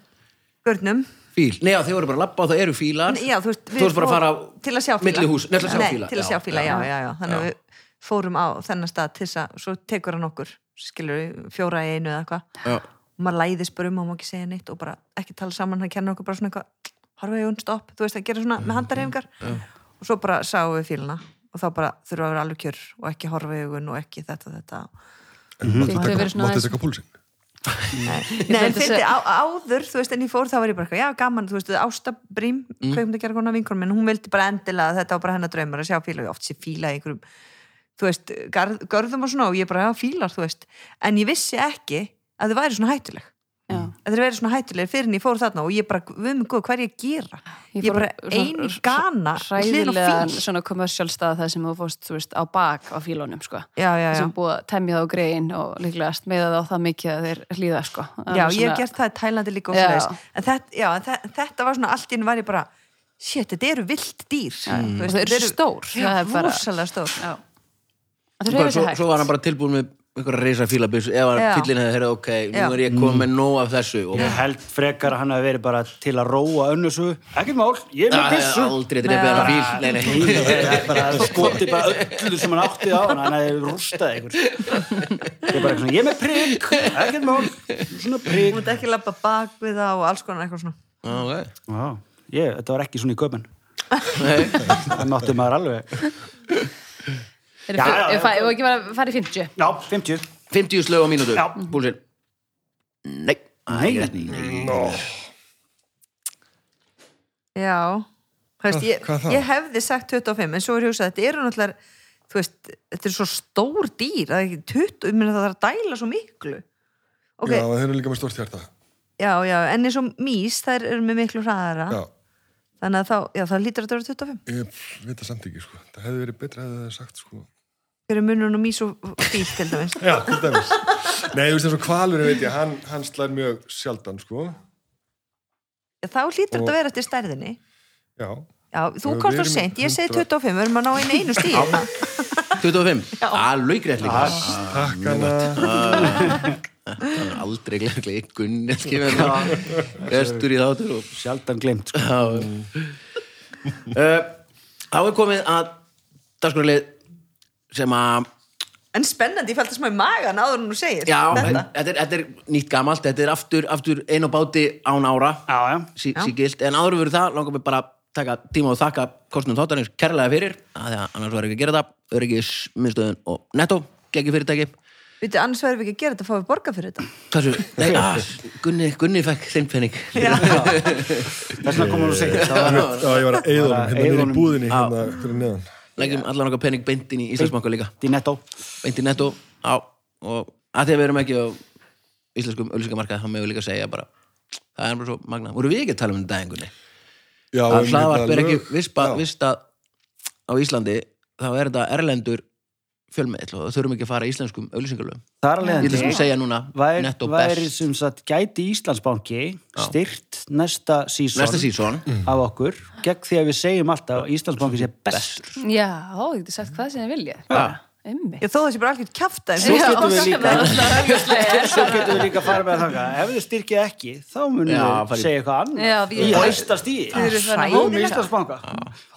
görnum fíl? Nei, já, þið voru bara að lappa og það eru fílar já, þú veist, þú veist bara að fara á til að sjá fíla milli hús, nei, til að sjá Nei, fíla. til að Já, sjá fíla, já, já. já, já. þannig að Já. við fórum á þennan stað til þess að, svo tekur hann okkur skilur við fjóra í einu eða eitthvað Já. og maður læðist bara um og má ekki segja neitt og bara ekki tala saman, hann kennir okkur bara svona eitthvað horfa í hún, stopp, þú veist að gera svona með handarhefingar og svo bara sáum við fílina og þá bara þurfa að vera alveg kjör og ekki horfa í hún og ekki þetta, þetta Þið Máttu hefur verið taka- svona máttu aðeins- taka púlsinn? Nei, en held að fyndi, sé- á, áður, þú veist, en ég fór, þá var ég bara, eitthvað, já, gaman, þú veist, Ásta Brím, mm. kveikmyndagjara konar vinkonum, en hún vildi bara endilega að þetta var bara hennar draumur að sjá fíla, og ég oft sé fíla í einhverjum, þú veist, garð, görðum og svona, og ég bara, já, fílar, þú veist, en ég vissi ekki að þau væri svona hættuleg. Já. Að þetta er verið svona hættulegir fyrir en ég fór þarna og ég bara, við mig guð, hvað er ég að gera? Ég, fór bara svona- ein í svona- gana hlýðin og hræðilegan fíl svona kommersiál stað það sem þú fórst, þú veist, á bak á fílunum, sko. Já, já, já. sem búið að temja þá greiðin og líklegast meða þá það mikið að þeir hlýða, sko. Það Já, er ég svona- hef gert það í Tælandi líka og Já. svoleiðis. en, þetta, já, en þe- þetta var svona allt inn var ég bara, shit, þetta eru vilt dýr mm. Og þau eru svo stór, Já, það er bara- rosalega stór Já. Að Þau Bara, reyfið svo, sér hægt. svo var hann bara tilbúin með einhverja reysa fílabils ef hann Já. fyllin hefði herrið ok, nú Já. er ég komið með nóg af þessu og Ég held frekar að hann hafi verið bara til að róa önnusu. Ekkert mál, ég er Já, með ég hef pissu. aldrei drefið hann að Ah, fíl nei, nei. Það skoti bara öllu sem hann átti á hann, hann hefði rústað einhver. Ég er bara eitthvað svona, ég er með prigg, ekkert mál, svona Þú prigg. mútt ekki lappa bak við það og alls konar eitthvað svona Já, ok. Já, ég, þetta var ekki svona í köpun. Nei. Það mátti maður alveg. Þeir Já, já, eru- já. Ef ef ekki bara farið 50. Já, 50. 50 slög á mínútu Já. búlsinn nei, það er ekki rétt. Já, þú veist, ég, hvað þá? ég hefði sagt 25 en svo er ég hugsað, þetta eru náttúrulega þú veist, þetta er svo stór dýr það er ekki 20, minna það þarf að dæla svo miklu Ok, Já, já, það eru líka með stórt hjarta. já, en eins og mís þær eru með miklu hraðara Já, þannig að þá, já, það lítur að það eru 25 ég veit það samt ekki, sko. Það hefði verið betra að það hefði sagt, sko. Hver er munurinn á mís og fíl til dæmis Já, til dæmis. Nei, þú veist eins og kvalur, veit ég, hann, hann slær mjög sjaldan, sko. já, Þá lítur þetta Og- að vera eftir stærðinni Já. Já, þú Já, komst við þú erum sent, ég segi 100. 25 við erum að ná einu einu stíð 25, alveg greitt líka Ah, Takk hana. Ah. Það er aldrei glemt Gunni skifir það Vestur í þáttur og Sjaldan glemt, sko. uh, Þá er komið að dagskonarlið sem að En spennandi, ég fælt það smá í magan áður en þú segir já, þetta. þetta er, þetta er nýtt gamalt þetta er aftur, aftur ein og báti án ára Já, já. sí, sígilt, en áður verið það langar við bara að taka tíma og þakka kostnum þáttarins kærlega fyrir, að því að annars var ekki að gera það öryggis, minnstöðun og netto geggi fyrirtæki, Veitu, annars verðum við ekki að gera þetta, fáum við borga fyrir þetta þessu nei, að, Gunni, Gunni fekk þinn penning Þess vegna komum við að segja Eh. þetta. Já, ég var að eigða Eyða honum, hérna niður í honum. búðinni, hérna fyrir neðan. leggjum allan okkar penning beint inn í Íslandsbanka líka Þetta er nettó. beint í netto á, og að því að við erum ekki á íslenskum ölsingamarkaði, þá meðum við líka að segja bara það er bara svo magna, voru við ekki að tala um þetta engunni Já, um að hlaðvarp hérna er ekki lög. vispa, Já. vista á Íslandi, þá er þetta erlendur fjölmiðl og það þurfum ekki að fara íslenskum ölsingalöfum. Það er alveg Ég ætla sem að segja núna Væri, netto væri best sem sagt gæti Íslandsbanki styrt næsta sísón næsta sísón af okkur gegn því að við segjum alltaf að Íslandsbanki sé bestur Já, ó, ég geti sagt hvað sem ég vilja. Um Já. Emmi. Já, þó þessi bara algjört kjafta Svo getum við líka líka. Svo getum við líka að fara með að þanga Ef þið styrkið ekki, þá munum Já, við farið- segja eitthvað annað Já, Í við- hæsta stíði eru farin að Óm hóta. Íslandsbanka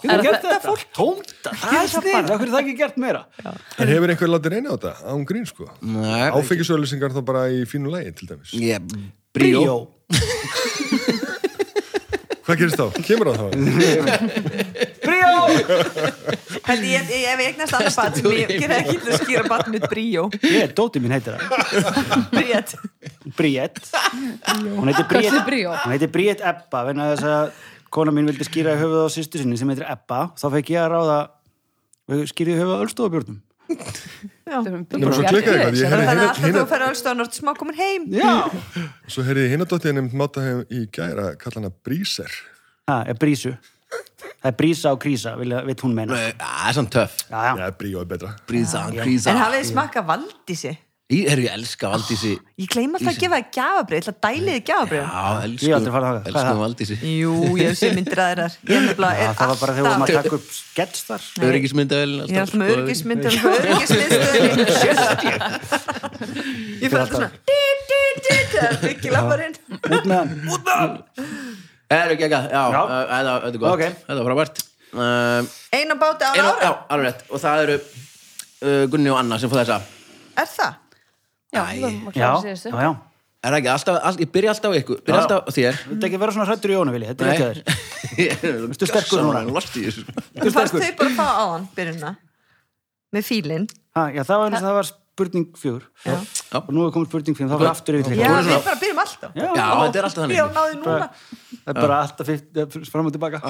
Getur gert þetta fólk tómta Það er stíð, af hverju er það ekki gert meira En hefur einhver látið reyna á þetta? Án grín, sko. Nei. Áfengisauðlýsingar þá bara í fínu lægi, til dæmis. yeah, Bríó Hvað gerist þá? Kemur það þá? Bríó Held ég, ég, ef ég eignast annað barn sem ég gera ekki til að skýra barn mitt bríó Ég, dóti mín heitir það Bríett Bríett Hún heitir Bríett Hversu Bríó? Hún heitir Bríett Ebba vegna þess að kona mín vildi skýra höfuð á sýstu sinni sem heitir Ebba þá fekk ég að ráða skýrið höfuð á Ölstofabjörnum Nefnum svo klikkað eitthvað, ég Þannig að heyrði alltaf þú hina, fer alls stóðan og ert smá komin heim Já hina svo heyrði ég hina dóttið nefnd máta heim í gæra, kalla hana Bríser. Það er Brísu Það er Brísa og Krísa, vil, vil hún meina Nei, Það er samt töff Já, já Já, Bríó er betra. Brísa, Krísa En hafið þið smakað valdísi Ég er ég elska Valdísi Ég gleyma alltaf að gefa þið gjafabrið, ætla að dæli þið gjafabrið Já, Ég hef elskum aldrei farið þangað. Hvað er elskum það? Valdísi Jú, ég hef séð myndir aðeirar Ég er nefnilega Það er var bara þegar við varum að alltaf taka upp skets þar Öryggismyndavel Ég er alltaf sko. með örgismyndir og örgismyndstöðinni Ég fer alltaf svona dí, dí, dí, Það er byggjil að barinn Út með hann Það er ekki ekki, já, Já. uh, þetta þetta er gott Ok. Þetta er frábært Um, Einu báti án Einu, já, ára, alveg rétt, og það eru uh, Gunni og Anna sem fór þessa er það? Já, Æ. það var Já, klára já, síðustu. já Er það ekki, alltaf, all, ég byrja alltaf á ykkur, byrja Já. alltaf á þér Þú veit ekki að vera svona hrættur í jónu, Vili Þetta er ekki að þér Vistu Ertu sterkur núna? Lost í þessu Þú fannst þau bara að fá á hann byrjunna með fílinn Ha, Já, það var, eins og það var spurning fjör Já. Já. Og nú er komið spurning fjör, þá var aftur yfir Já, til voru við svona- bara byrjum alltaf Já, Já, þetta er alltaf Já, þannig náði núna Það er bara alltaf fimm- eh, fram og tilbaka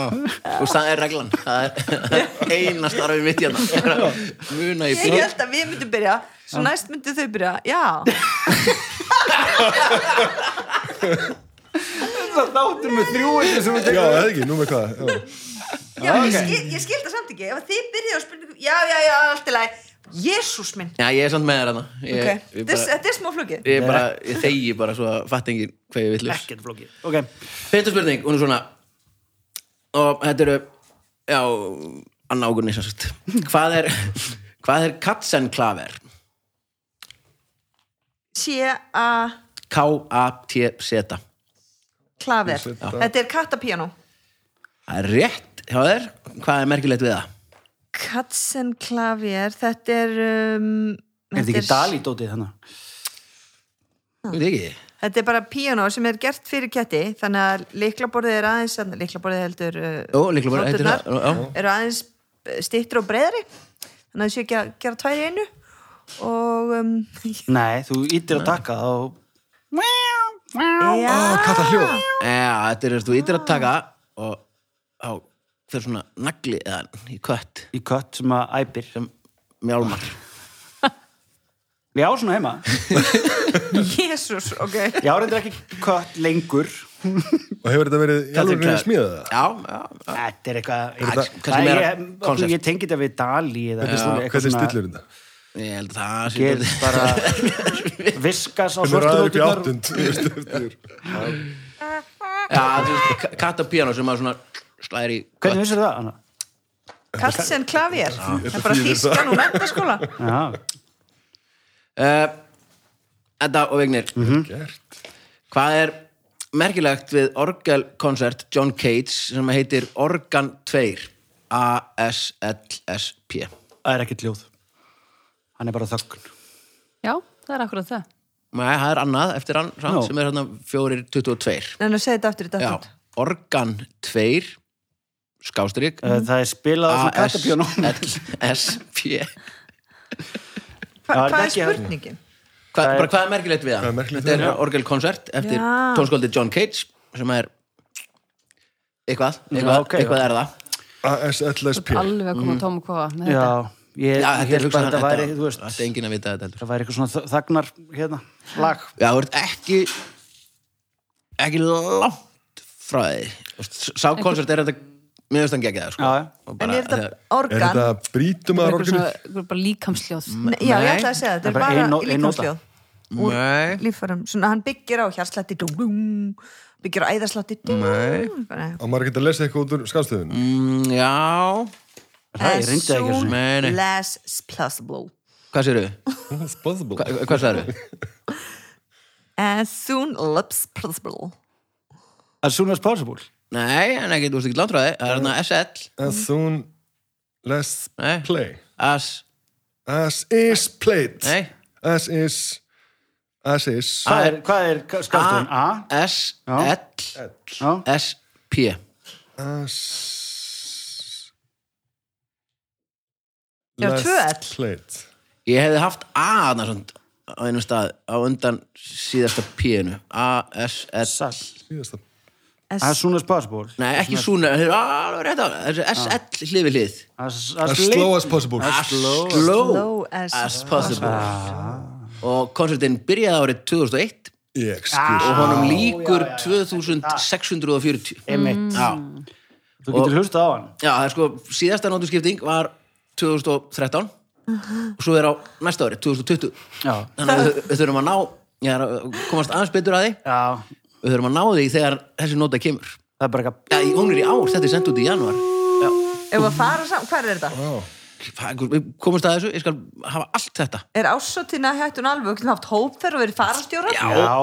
Og það er reglan Það er eina starfið mitt hérna er að Muna í Ég blóð held að við myndum byrja Svo næst myndum þau byrja, já það þáttur með þrjú eitthvað sem við Já, tekum eða ekki, nú með hvað já. Já, ég, skil, ég skil það samt ekki ef að þið byrjuðu að spurningu já, já, já, allt í lagi Jésús minn Já, ég er samt með þér hana ég, okay. ég, This- bara, Þetta er smá flugið ég, bara, ég þegi bara svo að fatt enginn hvað ég villur ekkert flókið. Ok, Fyrsta spurning, hún er svona og þetta eru já, Anna Águrni sem sagt hvað er, hvað er Katzenklaver? C.A. K-A-T-Z Klaver Ég set það. Þetta er kattapiano Það er rétt hjá þér hvað er merkilegt við það? Katzen klaver Þetta er um, er þetta ekki hérna. Dalí-dótið þannig? Þú veit ekki? Þetta er bara piano sem er gert fyrir ketti þannig að líklaborðið er aðeins líklaborðið heldur uh, Jó, líklega bara heitir nóturnar það já. eru aðeins stýttur og breyðari þannig að þessu ekki að gera tvær í einu og um, Nei, þú ítir að taka þá já, Katta hljóð Já, þetta er þú ytir að taka og á fyrir svona nagli eða í kött í kött sem að æpir. sem mjálmar Ég á svona heima. jésús ok, Ég á reyndir ekki kött lengur. Og hefur þetta verið í alveg að smíða það? Já, já, já. Þetta er eitthvað... Þetta- Æ, kannski meira ég, concept. ég tengi þetta við Dalí eða Hvernig hvernig stillur þetta? Ég held að það sé Ger dálítið- bara viskas á Hvernig svörtu ræður upp í nóturnar. áttund þú veist, eftir- Já, þú veist, katta píano sem að svona slæri Hvernig vissir það, Anna? kassen klaver það er bara þýðir þýskan úr mentaskóla Já, uh, Edda og Vignir Gert Hvað er merkilegt við orgelkonsert John Cage sem heitir Organ 2 A-S-L-S-P það er ekkert ljóð. Hann er bara þögn. Já, það er akkurat það. Nei, það er annað eftir hann samt, Já. sem er hérna 422 en að segja þetta aftur í Já, dagfund Organ 2 skástrík Uh, Það er spilað á svona E kattapjónum. A-S-L-S-P Já, er Hva, hvað þetta er ekki- spurningin? Hvað, Það er- bara, hvað er merkilegt við Hvað er það? merkilegt Þetta við er það? orgelkonsert eftir Já. tónskóldi John Cage sem er eitthvað, eitthvað, ok, eitthvað er það ASLSP Alveg að koma mm. tóm og kofa með Já, þetta. Já, ég, ég þetta er held bara hugsaðan að þetta væri, þú veist, Þetta er enginn að vita þetta heldur það væri eitthvað svona þ- þagnar, hérna, lag. Já, þú ert ekki ekki langt frá því Þú veist, Sá konsert er þetta mjög stann geggjað sko. Já, já. Og en bara- er þetta Er organ? þetta brítum að Einhver orgunni? svona, einhver bara líkamsljóð. Nei, já, ég Nei. ætlaði að segja þetta Það er er bara ein bara nó- í ein nóta. líkamsljóð Nei, líffærum, svona hann byggir á hjarslætti dung, dung, byggir á æðarslætti dung, bara- Og maður er ekki að lesa eitthvað út úr skáðstöðun mm, já Það ég reyndi það ekki As svona. Nei, nei. soon less plausible Hvað sérðu? It's possible Hva, hvað sérðu? as soon less plausible As soon as possible. Nei, en ekki, þú veist ekki langt frá því Það er hérna SL, As soon less Nei. play AS As is played Nei, Ah. As is As is Hvað er, hvað er skátturinn? A? S, Já. L, Já. S, P Ah. As Já, tvö Less L. played Ég hefði haft A þarna svona á einu stað, á undan síðasta P-inu A, S, L Sall. Síðasta As as soon as possible. Nei, ekki svona, það er alveg rétt á þessu S, L hlið við hlið As, As late- slow as possible As slow, low as, as possible Og konsertin byrjaði árið 2001 Ég skil Ah. og honum líkur 2640 Einmitt. Já, Þú getur hlustað á hann. já það er sko síðasta nótuskipting var 2013 og svo er á næsta ári 2020 Já. þannig að við, við þurfum að ná ég er að komast aðeins betur að því Já. við þurfum að ná því þegar þessi nota kemur Það er bara eitthvað... já, í- hún er í ár, þetta er sendt út í janúar já, ef að fara saman, hvað er þetta? það- við komumst að þessu, ég skal hafa allt þetta er ásóttina hættun alveg, við haft hóp þegar við erum farastjóra Já. Já.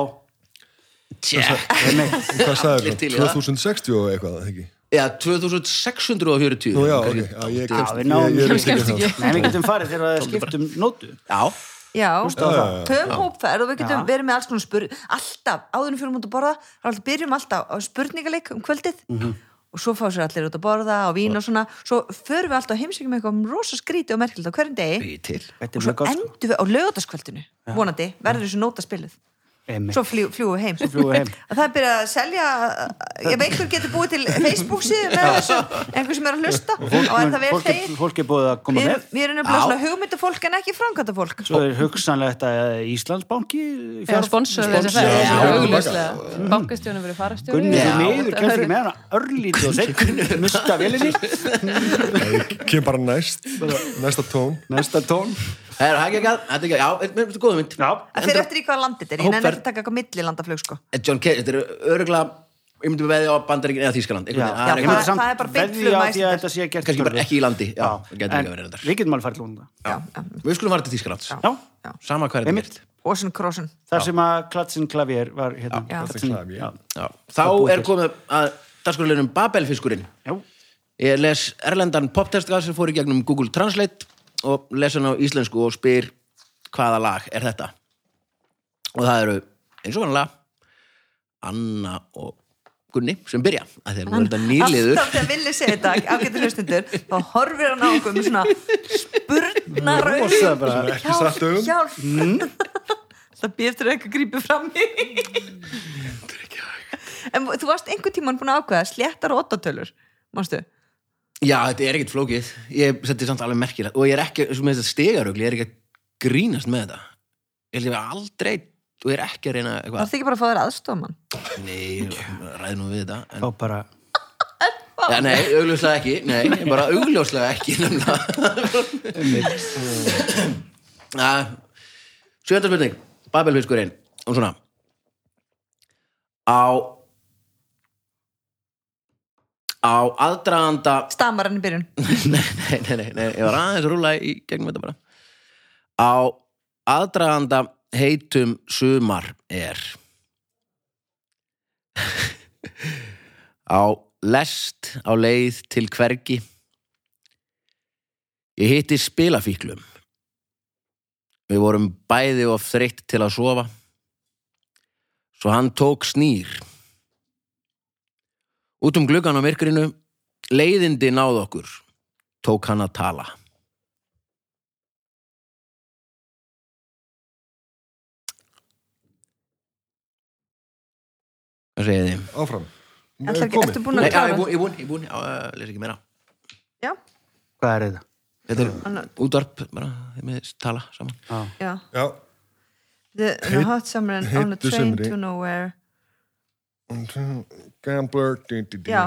Tjekk. Einmitt. Hvað sagði Allir til í það? 2060 og eitthvað, eða ekki? já, 2640 Nú já, ok, kannski. já, ég Já, kemst við náum- ég- ég reyndi ekki það. Nei, við getum farið þegar við skiptum um nótu. já, já, Hlustaðu á það. töfum hópferð og við getum Já. verið með alls konar spurning alltaf, áðunum fyrir út að borða þá alltaf byrjum alltaf á spurningaleik um kvöldið og svo fá sér allir út að borða og vín og svona, svo förum við alltaf að heimsækjum eitthvað um rosa skríti og merkild á hverjum degi við til Þetta og er svo mjög gott. sko. endum við á lögataskvöldinu vonandi, verður þessu nóta spiluð Einmitt. svo fljú, fljúum við heim Svo fljúgum við heim. Að það er byrjað að selja ég veit einhver getur búið til Facebook síðan með þessu, einhver sem er að hlusta og er það vel fólk, er, þegið fólk er búið að koma við, með við erum Já. nefnilega svona hugmyndafólk en ekki framkvæmdafólk Svo er hugsanlegt að Íslandsbanki Já, sponsorðu þess að Sponsor- Já, það er já, augljóslega. Bankastjónum verið farastjóri. Gunni, Já. þú miður, kemst ekki með hana örlítið og segn, mista velinni kem bara næst, næsta tón næsta tón Það er ekki að, þetta er ekki að, já, mér finnst þetta góð mynd. Já, að fyrir eftir í hvaða land þetta er, ég nefnir Hópferð. ekki að taka eitthvað millilandaflug sko En John Cage, þetta er öruglega, ég myndi veðja á Bandaríkin eða Þískaland, já, einhvern Já, veginn. Það ég er myndi það- samt það er bara beint veðja flug á því með að Icelandair. þetta sé gert Kannski bara öruggt. ekki í landi, já, það gæti en líka verið reyndar. við getum alveg farið lónga eitthvað- Við skulum fara til Þískaland. já, Sama hvað er þetta Einmitt. gert. Ocean Crossin þar sem að Klatsin Klavier var hérna Já. Klatsin Klavier. Já. Já. Þá er komið að dagskurleginum Babelfiskurinn. Já. Ég les erlendan poptestgað sem fór í gegnum Google Translate og les hann á íslensku og spyr hvaða lag er þetta. Og það eru eins og vanlega Anna og Gunni sem byrja. Af því að nú er þetta nýliður. alltaf þegar villi segja þetta ágættu hlustundur, þá horfir hann á okkur með svona spurnar Rosa bara. Ekki satt um, augum. hjálp það býr eftir að eitthvað grípi fram í en þú varst einhver tíman búin að ákveða sléttar og ottatölur, mástu Já, þetta er ekkert flókið. Ég setti samt alveg merkilegt og ég er ekki, eins og með þetta stegarugli, ég er ekki að grínast með þetta. Ég held ég að aldrei, og ég er ekki að reyna það eitthvað, er ekki bara að fá þér aðstofamann nei, ræði nú við þetta. En, þá bara ja, nei, augljóslega ekki, nei, bara augljóslega ekki, nefnilega. Ja, Sjönda spurning, Babelfiskurinn, og svona. Á, á aðdraganda stamar hann í byrjun nei, nei, nei, nei, nei, ég var aðeins að rúla í gegnum þetta bara á aðdraganda heitum sumar er á lest á leið til hvergi ég hitti spilafíklum við vorum bæði og þreytt til að sofa svo hann tók snýr út um gluggan á myrkrinu leiðindi náð okkur tók hann að tala. Hvað segir þið? áfram Ætlar ekki- Komið. ertu búin Nei, að já, ég klára búin, ég búin, ég búin, já, eh, les ekki meira. já, hvað er þetta? Þetta er Annað. útvarp, bara, þið með tala saman. Já. já já, the, the hot summer and on a heitu train sumri. to nowhere gambler dí, dí, dí. Já.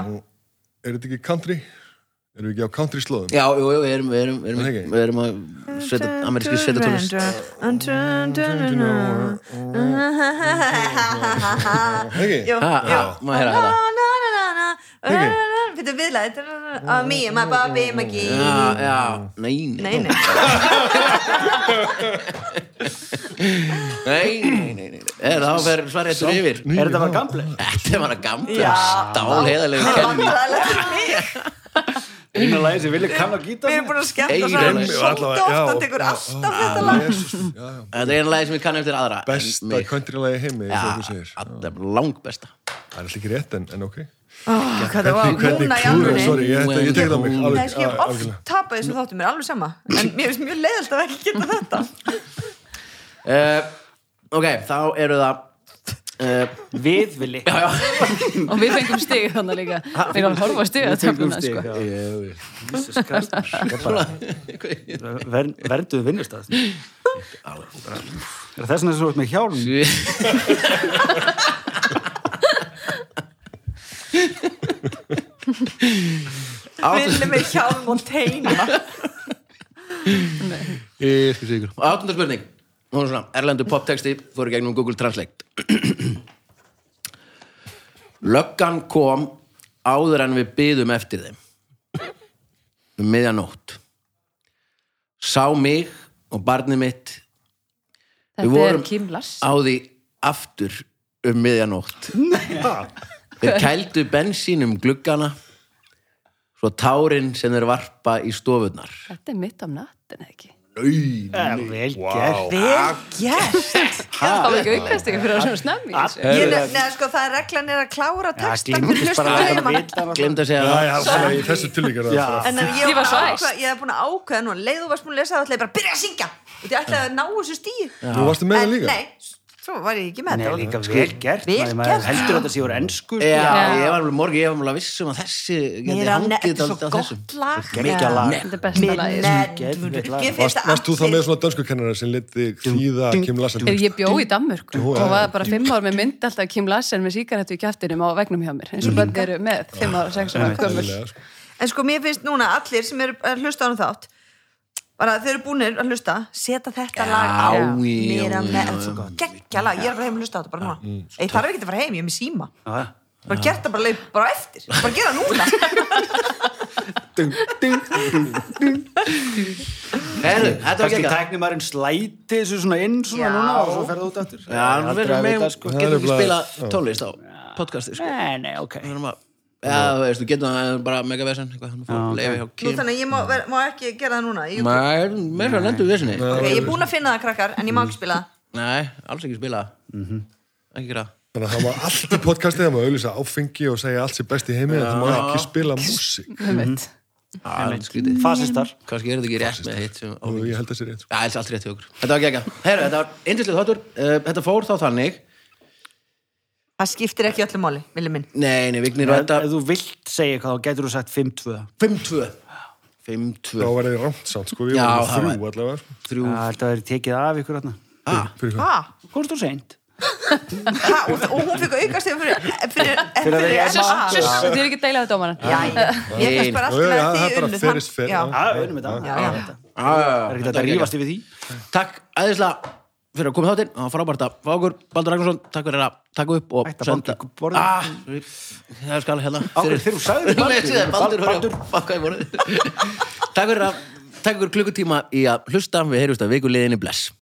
er þetta ekki country? erum við ekki á country slóðum? Já, jú, jú, við erum, við erum, við Það er erum, ekki. við erum að setja, ameríski setja tónlist. eh, ekki? Jú, Ha, ha, jú. maður heyra þetta. Ekki? Fyrir viðlaðið Oh me, my baby, my gee Já, já, nei, nei, Nei, nei, nei, nei, nei, nei. Er, þá fer svarjættur yfir. er þetta bara gamble? Þetta var að gamla, Já. stálheðalegu það kenni. var aðlægt til mig eina lagi sem vilja kann að gíta Við erum búin að skemmta Eyrun. saman Eyrun, svolítið oft Hann tekur alltaf þetta lag lag Þetta er eina lagi sem ég kann eftir aðra. en besta mig- countrylagi heimi eins og Já, þú segir þetta er Ah, langbesta. það er alltaf ekki rétt en, en ok Ó, Hvað það var, núna í klúður, sorry, alveg ég, þetta- ég tek það á mig Nei, alveg, sko, ég hef oft algjörlega. tapað þessu þáttum mér alveg sama En mér finnst mjög leiðalt að ekki geta þetta Uh, ok, þá eru það uh, við vilji Já, já Og við fengum stig þannig líka. Við erum að horfa á stig að töfluna, sko. vernduðu vinnustaf er þess vegna sem þú ert með hjálm Villi með hjálm og teina Áttunda spurning Hún er svona, erlendu poptexti fóru gegnum Google Translate Löggan kom áður en við byðum eftir þeim um miðjanótt Sá mig og barnið mitt Við Þetta er vorum- Kim Lars. á því aftur um miðjanótt þeir kældu bensín um gluggana svo tárin sem þeir varpa í stofurnar Þetta er mitt am nattin, eða ekki? Eh, vel gert Vel gert Það var ekki aukast ekki fyrir að svona snemmi. í þessu. Ég nef- Nei, sko, það er reglan er að klára Já, texta fyrir glimtist bara að hlustum láta heima vita náttúrulega. glemd að segja Já, það já, svona í þessu tilíkar Já. En en ég Ég var var svo æst. ákveð, ég hef búin að ákveða nú leið þú varst búin að lesa það, ætlaði ég bara að byrja að syngja og ég ætlaði að ná þessu stíð Nú varstu með það líka Nei, Svo var ég ekki Nei, með þetta. líka vel gert, Vel maður- gert. maður heldur þetta sé úr sko. ennsku Já, Já. ég var alveg morgi, ég var alveg viss um að þessi Nei, geti er hann- hangið þetta er dálítið svo á þessum. gott lag. Gekkja lag. Þetta er besta lagið. sko. Geðveikt lag. Mér Varst, finnst varst þú þá allir- með svona dönsku kennara sem lit þig þýða Kim Larsen? Ef ég bjó í Danmörku Jú, og var já. bara fimm ár með mynd alltaf Kim Larsen með síkaretu í kjæftinum á vegnum hjá mér eins og börn eru með fimm ára, sex ára Einmitt. gömul Eðlilega, sko. En sko, mér finnst núna allir sem eru að hlusta á hann þátt bara þeir eru búinir að hlusta seta þetta lag á já, mér já, að já, með þetta geggja lag, ég er bara heim að hlusta á þetta bara núna ég þarf ekki að fara heim, ég er með síma Já, já. bara gert það bara leið bara á eftir bara gera það núna Herru, þetta var Kanski geggjað. tæknir maður einn slæti þessu svona inn svona Já. núna og svo ferðu út aftur Já, nú verðum við megum, Það er getum ekki nefnilega- spila já. tónlist á podcasti, sko. Nei, nei, ok Við erum að, já, þú veist, við getum það bara mega vesen, eitthvað, hann fór að leifa hjá Nú, Kim. þannig að ég má, ver, má ekki gera það núna ég, Nei, meira að lendu við vesenni. ok, ég er búin að finna það krakkar en ég má ekki spila það Nei, alls ekki spila. Ekki gera. það. Þannig að það var allt í podcastið, það var auðvitsa áfengi og segja allt sér best í heimi, en það má ekki spila músík. Einmitt. Það er skrítið. Fasistar Kannski er þetta ekki rétt með hitt sem Og áfengi. ég held þessi rétt. sko. Já, alls allt rétt hjá okkur. Þetta var gegga. Herru, þetta var yndislega þáttur. Uh, þetta fór þá þannig. það skiptir ekki öllu máli, vilja minn Nei, nei, Vignir og Ef þetta ef þú vilt segja eitthvað þá getur þú sagt 5-2 5-2. Þá 5-2. var það rámt sátt, sko. Við Já, varum það með þrjú allavega, sko. Þrjú. Það er það verið tekið af ykkur hérna Ah, Fyrir hvað? ha, Komst þú seint? ha, og, og hún fikk aukast fyrir, fyrir, fyrir, að vera í fyrir Suss, Ah. suss, þið er ekki að deila við dómaran Já, já, ég finnst bara Já, já, alltaf það er að bara því fair is fair, já. já, Já, við erum þetta já, Það já. ah, er ekki þetta að rífast yfir því Takk æðislega fyrir að koma í þáttinn. Það var frábært að fá okkur. Baldur Ragnarsson, takk fyrir að taka upp og Ætti að banka ykkur borðið. Ah, það er skal hérna. Á, þegar þú sagðir Baldur. Baldur. Nei, Baldur, Baldur. Baldur. Bakka í borðið. Takk fyrir að taka ykkur klukkutíma í að hlusta. Við heyrjumst að viku liðinni bless.